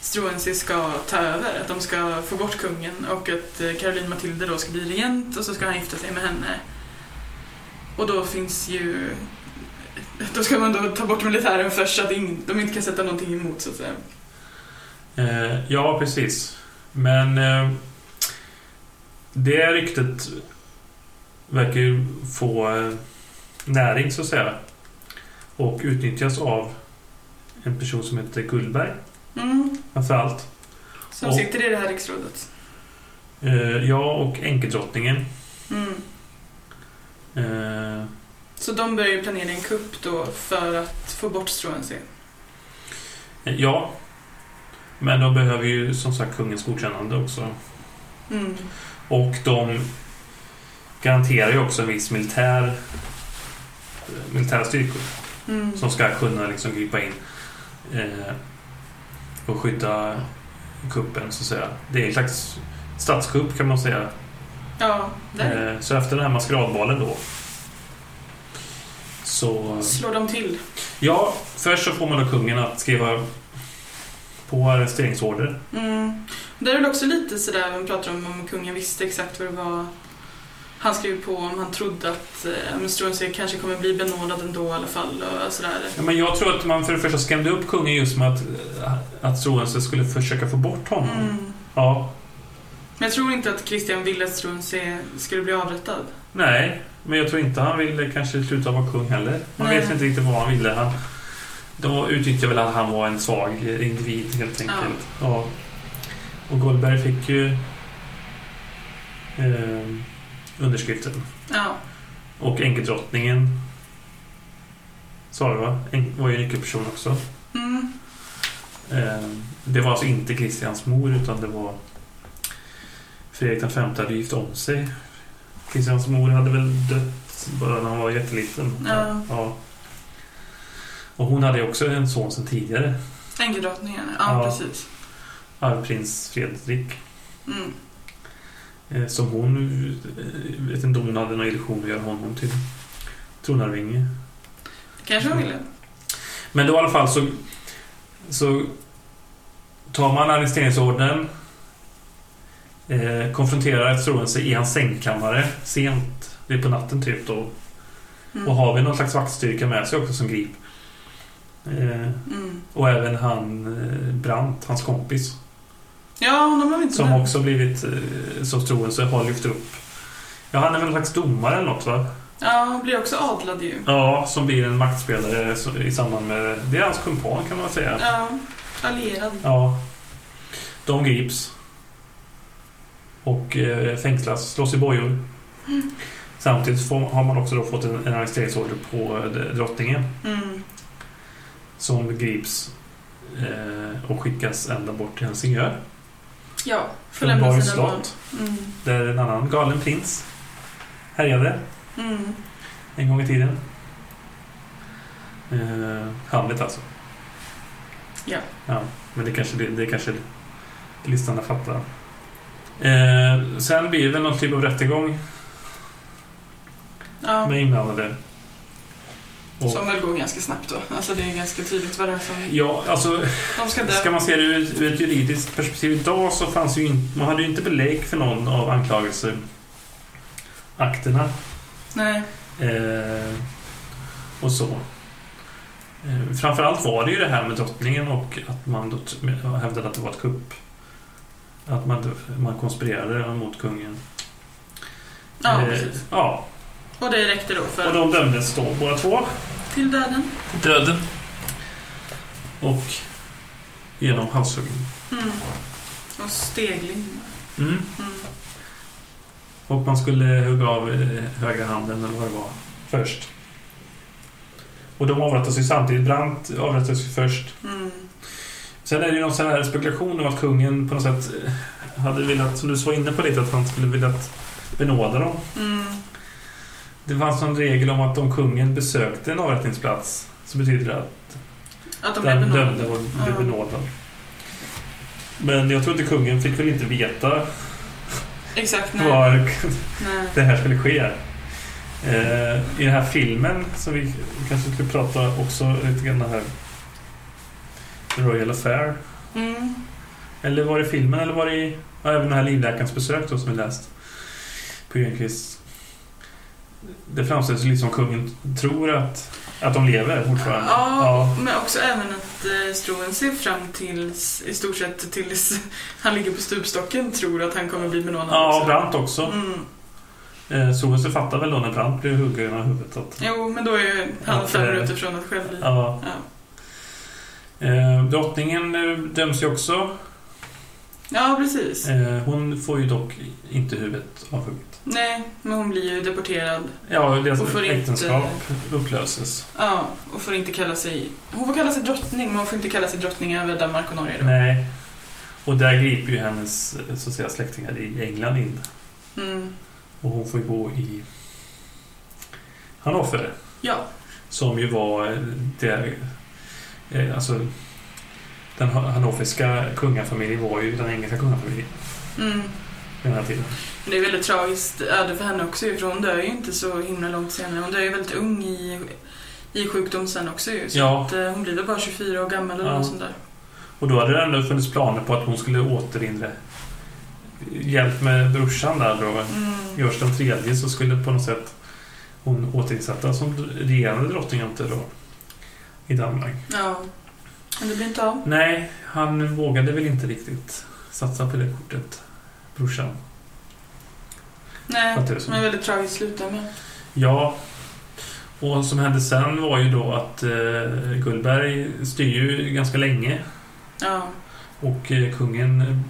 Struensee ska ta över, att de ska få bort kungen och att eh, Caroline Matilde då ska bli regent och så ska han gifta sig med henne. Och då finns ju... Då ska man då ta bort militären först så att ing- de inte kan sätta någonting emot så att säga.
Eh, ja, precis. Men eh, det ryktet verkar ju få eh, näring, så att säga. Och utnyttjas av en person som heter Gullberg,
Mm.
framförallt.
Så de
Och-
sitter i det här riksrådet.
Eh, ja, och enkedrottningen.
Mm.
Eh,
Så de börjar ju planera en kupp då för att få bort Struensee.
ja. Men de behöver ju som sagt kungens godkännande också.
Mm.
Och de garanterar ju också en viss militär, eh, militära styrkor
Mm.
som ska kunna liksom gripa in eh, och skydda kuppen, så att säga. Det är en slags statskupp kan man säga.
Ja, där
Eh, så efter den här maskeradbalen då så...
slår de till.
Ja, först så får man då kungen att skriva på arresteringsorder.
Mm. Det är väl också lite sådär, man pratar om om kungen visste exakt vad det var han skrev på, om han trodde att eh, Struensee kanske kommer bli benådad ändå i alla fall och sådär.
Ja, men jag tror att man för det första skrämde upp kungen just med att, att Struensee skulle försöka få bort honom.
Mm.
Ja,
Men jag tror inte att Christian ville att Struensee skulle bli avrättad.
Nej, men jag tror inte han ville kanske sluta vara kung heller. Man
Nej.
vet inte riktigt vad han ville. Han, då utnyttjade väl att han var en svag individ helt enkelt. Ja. Och Goldberg fick ju eh, underskriften.
Ja.
Och enkedrottningen sa du va? En- var ju en nyckelperson också.
Mm.
Eh, det var alltså inte Kristians mor utan det var Fredrik V hade gift om sig. Kristians mor hade väl dött bara när han var jätteliten.
Ja.
Ja. Och hon hade ju också en son sedan tidigare,
Änkedrottningen, ja,
Ja.
precis.
arvprins Fredrik.
Mm.
eh, Som hon, eh, vet inte om hon hade någon illusion att göra honom till tronarvinge.
Kanske hon ville.
Men då i alla fall så, så tar man arresteringsordern. Eh, konfronterar Struensee i hans sängkammare sent. Det är på natten typ då.
Mm.
Och har vi någon slags vaktstyrka med sig också som grip. Eh,
Mm.
och även han eh, Brandt, hans kompis.
Ja, honom har vi inte
Som
nämnt.
också blivit, eh, som Struensee har lyft upp. Ja, han är väl någon slags domare eller något va?
Ja, han blir också adlad ju.
Ja, som blir en maktspelare så- i samband med... Det är hans kumpan kan man säga.
Ja, allierad.
Ja. De grips. Och eh, fängslas, slås i bojor. Samtidigt får, har man också då fått en, en arresteringsorder på eh, drottningen.
Mm.
Som grips eh, och skickas ända bort till Helsingör.
Ja, får
Från
lämna
Borgs
sina barn.
slott.
Mm.
Där en annan galen prins härjade
Mm.
en gång i tiden. Eh, Hamlet alltså.
Ja.
ja men det kanske, det, det kanske lyssnarna fattar. Eh, sen blir det väl någon typ av rättegång
Ja.
med inblandade. Och-
Som väl går ganska snabbt då. Alltså det är ganska tydligt vad det är som...
Ja, alltså
De ska dö.
ska man se det ur, ur ett juridiskt perspektiv idag så fanns ju inte, man hade ju inte belägg för någon av anklagelseakterna.
Nej.
Eh, och så. Eh, framförallt var det ju det här med drottningen och att man då t- hävdade att det var ett kupp. Att man, man konspirerade mot kungen.
Ja,
Eh,
precis.
ja.
Och det räckte då för...
Och de dömdes då båda två.
Till döden.
Döden. Och genom halshuggning.
Mm. Och stegling.
Mm.
Mm.
Och man skulle hugga av eh, högra handen eller vad det var först. Och de avrättades ju samtidigt. Brant avrättades ju först.
Mm.
Sen är det ju någon sån här spekulation om att kungen på något sätt eh, hade velat, som du var inne på lite, att han skulle velat benåda dem.
Mm.
Det fanns någon regel om att om kungen besökte en avrättningsplats så betyder det att
Att de blev
den
benådade.
dömde och blev
Ja.
benådad. Men jag tror inte kungen fick väl inte veta
Exakt, nej.
var *laughs*
nej.
det här skulle ske. Eh, I den här filmen som vi kanske skulle prata också lite grann här. The Royal Affair.
Mm.
Eller var det filmen eller var det i- ja, även den här livläkarens besök då som vi läst på Grönqvist. Det framställs ju lite som kungen tror att, att de lever fortfarande.
Ja, men också även att eh, Stroen ser fram till i stort sett tills *laughs* han ligger på stupstocken tror att han kommer bli benådad
Ja,
också.
och Brandt också.
Mm.
Eh, Solveig fattar väl då när Brandt blir huggen i huvudet att...
Jo, men då är ju han
Ja,
fem
det-
minuter från att själv bli...
eh, Ja.
Ja.
Eh, drottningen eh, döms ju också.
ja, precis.
Eh, hon får ju dock inte huvudet avhugget.
Nej, men hon blir ju deporterad.
Ja, deras
Hon får inte-
äktenskap upplöses.
Ja, och får inte kalla sig... Hon får kalla sig drottning, men hon får inte kalla sig drottning över Danmark och Norge då.
Nej. Och där griper ju hennes eh, så att säga, släktingar i England in.
Mm.
Och hon får ju bo i Hannover.
Ja.
Som ju var eh, det, eh, alltså, den ha- hannoverska kungafamiljen var ju den engelska kungafamiljen
Mm.
vid den här tiden.
Men Det är väldigt tragiskt öde för henne också ju, för hon dör ju inte så himla långt senare. Hon dör ju väldigt ung i, i sjukdom sen också ju. Så
Ja.
att, eh, hon blir väl bara 24 år gammal eller
Ja.
något sånt där.
Och då hade det ändå funnits planer på att hon skulle återinre hjälp med brorsan där då.
Mm.
Görs den tredje så skulle på något sätt hon återinsättas som regerande drottning inte då i Danmark.
Ja. Men det blir inte av.
Nej, han vågade väl inte riktigt satsa på det kortet, brorsan.
Nej,
Fattar du som?
men väldigt tragiskt slutar med.
Ja. Och vad som hände sen var ju då att eh, Gullberg styr ju ganska länge
Ja.
och eh, kungen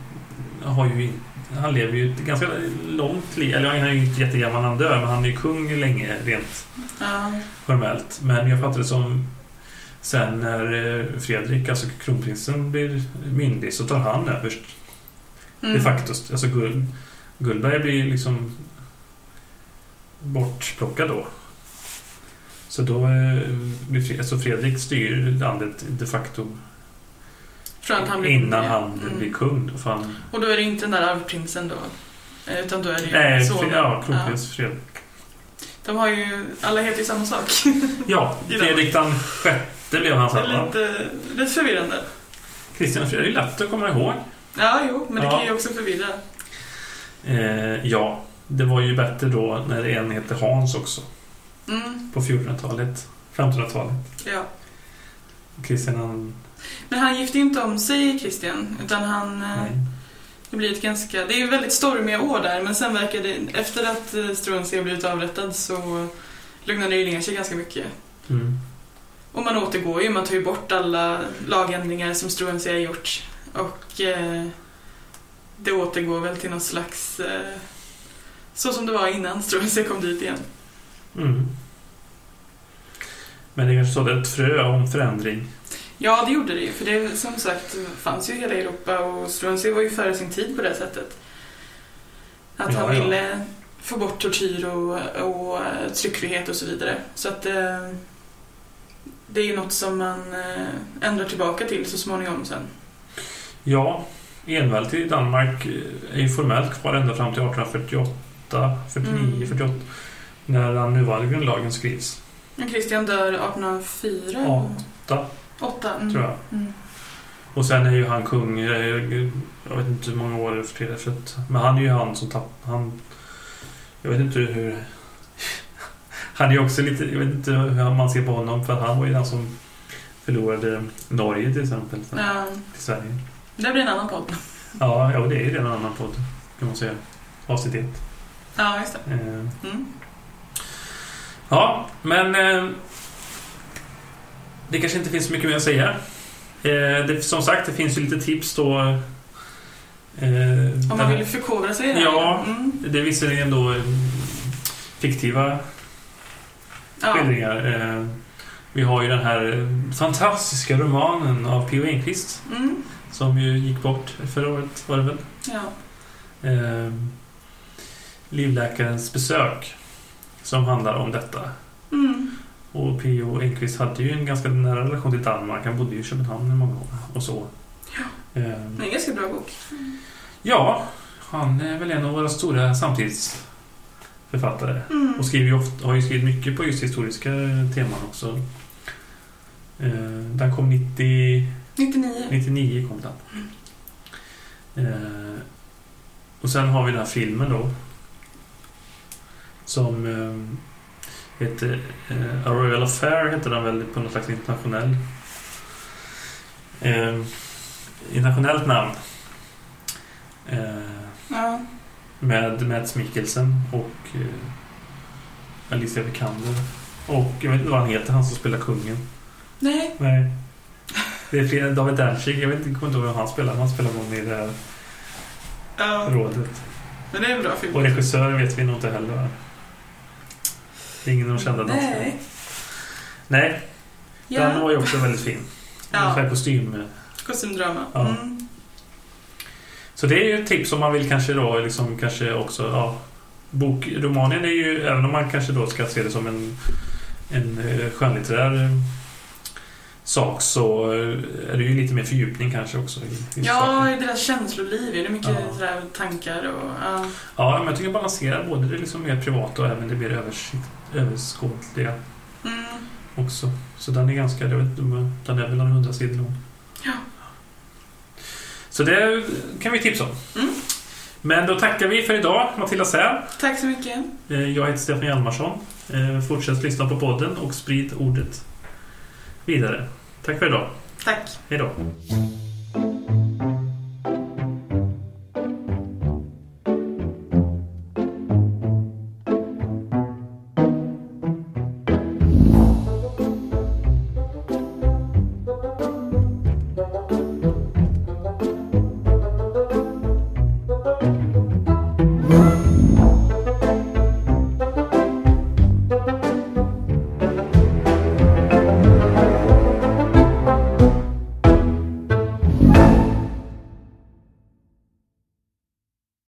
eh, har ju in- han lever ju ett ganska långt liv. Eller han är ju inte jättegammal när han dör, men han är ju kung länge rent
ja.
formellt. Men jag fattar det som sen när eh, Fredrik, alltså kronprinsen, blir myndig så tar han överst
Mm.
de facto. Alltså Gull, Gullberg blir liksom bortplockad då. Så då eh, blir Fre- alltså Fredrik styr landet de facto
Mm. Från att han blir
innan han
Mm.
blir kung. Då, för han,
Och då är det inte den där arvprinsen då. eh, Utan då är det ju
nej,
sonen.
Fre- ja, kronprins Fredrik.
De har ju... Alla heter ju samma
*laughs*
sak.
Ja,
I
Fredrik den sjätte blev han
Det
sen
är
va?
lite, lite förvirrande.
Kristian och Fredrik, det är lätt att komma ihåg.
Ja, jo, men det
Ja.
kan ju också förvirra.
Eh, ja, det var ju bättre då när en hette Hans också.
Mm,
På 1400-talet, 1500-talet.
ja.
Kristian han...
Men han gifte ju inte om sig, Christian. Utan han... eh,
Nej.
Det blir ett ganska... Det är ju väldigt stormiga år där, men sen verkar det... Efter att eh, Struensee har blivit avrättad så lugnar det ju ner sig ganska mycket.
Mm.
Och man återgår ju, man tar ju bort alla lagändringar som Struensee har gjort. Och eh, det återgår väl till någon slags... Eh, så som det var innan Struensee kom dit igen.
Mm. Men det kanske sådde ett frö om förändring.
Ja, det gjorde det ju. För det som sagt fanns ju i hela Europa och Struensee var ju före sin tid på det sättet. Att
Ja,
han
ja.
ville få bort tortyr och, och eh, tryckfrihet och så vidare. Så att eh, det är ju något som man eh, ändrar tillbaka till så småningom sen.
Ja, enväldet i Danmark eh, är ju formellt kvar ända fram till 1848, 49,
Mm.
48 när den nuvarande grundlagen skrivs.
Men Christian dör 1804?
Åtta.
Åtta, mm.
Tror jag.
Mm.
Och sen är ju han kung, eh, jag vet inte hur många år efter det, för att, men han är ju han som tappar... Han, jag vet inte hur... *laughs* Han är ju också lite, jag vet inte hur man ser på honom, för han var ju den som förlorade Norge till exempel,
Ja,
till Sverige.
det blir en annan podd.
Ja, ja, och det är ju redan en annan podd, kan man säga. Avsnitt ett.
Ja, just
Eh,
det. Mm.
Ja, men eh, det kanske inte finns så mycket mer att säga. Eh, det, som sagt, det finns ju lite tips då. Eh,
Om
där-
man vill förkovra sig.
Ja.
Mm.
Det är visserligen då eh, fiktiva
ja.
skildringar. Eh, vi har ju den här eh, fantastiska romanen av P.O. Enquist
Mm.
som ju gick bort förra året var det väl.
ja.
Eh, Livläkarens besök som handlar om detta.
Mm.
Och P.O. Enquist hade ju en ganska nära relation till Danmark. Han bodde ju i Köpenhamn i många år och så. Eh,
Det är en ganska bra bok.
Ja, han är väl en av våra stora samtidsförfattare.
Mm.
Och skriver ju ofta, har ju skrivit mycket på just historiska teman också. Eh, den kom 90, Mm.
99.
99. Kom den. Eh, och sen har vi den här filmen då. Som eh, heter eh, A Royal Affair heter den väl på något slags internationell eh, internationellt namn. Eh,
Ja.
med Mads Mikkelsen och eh, Alicia Vikander. Och jag vet inte vad han heter, han som spelar kungen.
Nej.
Nej. Det är flera, David Danzig, jag vet inte, kommer inte ihåg vem han spelar, men han spelar någon i det här
Ja.
rådet.
Men det är en bra film.
Och regissör vet vi nog inte heller. va? Det är ingen av de kända danskarna.
Nej.
Nej, den
Ja.
var ju också väldigt fin.
Ja.
Ungefär kostym.
Kostymdrama.
Ja.
Mm.
Så det är ju ett tips om man vill kanske då liksom kanske också, ja. Bokromanen är ju, även om man kanske då ska se det som en, en eh, skönlitterär eh, sak så eh, är det ju lite mer fördjupning kanske också. i- i saker.
Ja, i deras känsloliv är det mycket
Ja.
sådär tankar och... Ja.
Ja, men jag tycker balansera både det liksom mer privata och även det mer översikt, överskådliga
Mm.
också. Så den är ganska, jag vet inte, men den är väl en hundra sidor lång.
Ja.
Så det kan vi tipsa om.
Mm.
Men då tackar vi för idag, Matilda Säl.
Tack så mycket.
Eh, Jag heter Stefan Hjalmarsson. Eh, Fortsätt lyssna på podden och sprid ordet vidare. Tack för idag.
Tack.
Hej då.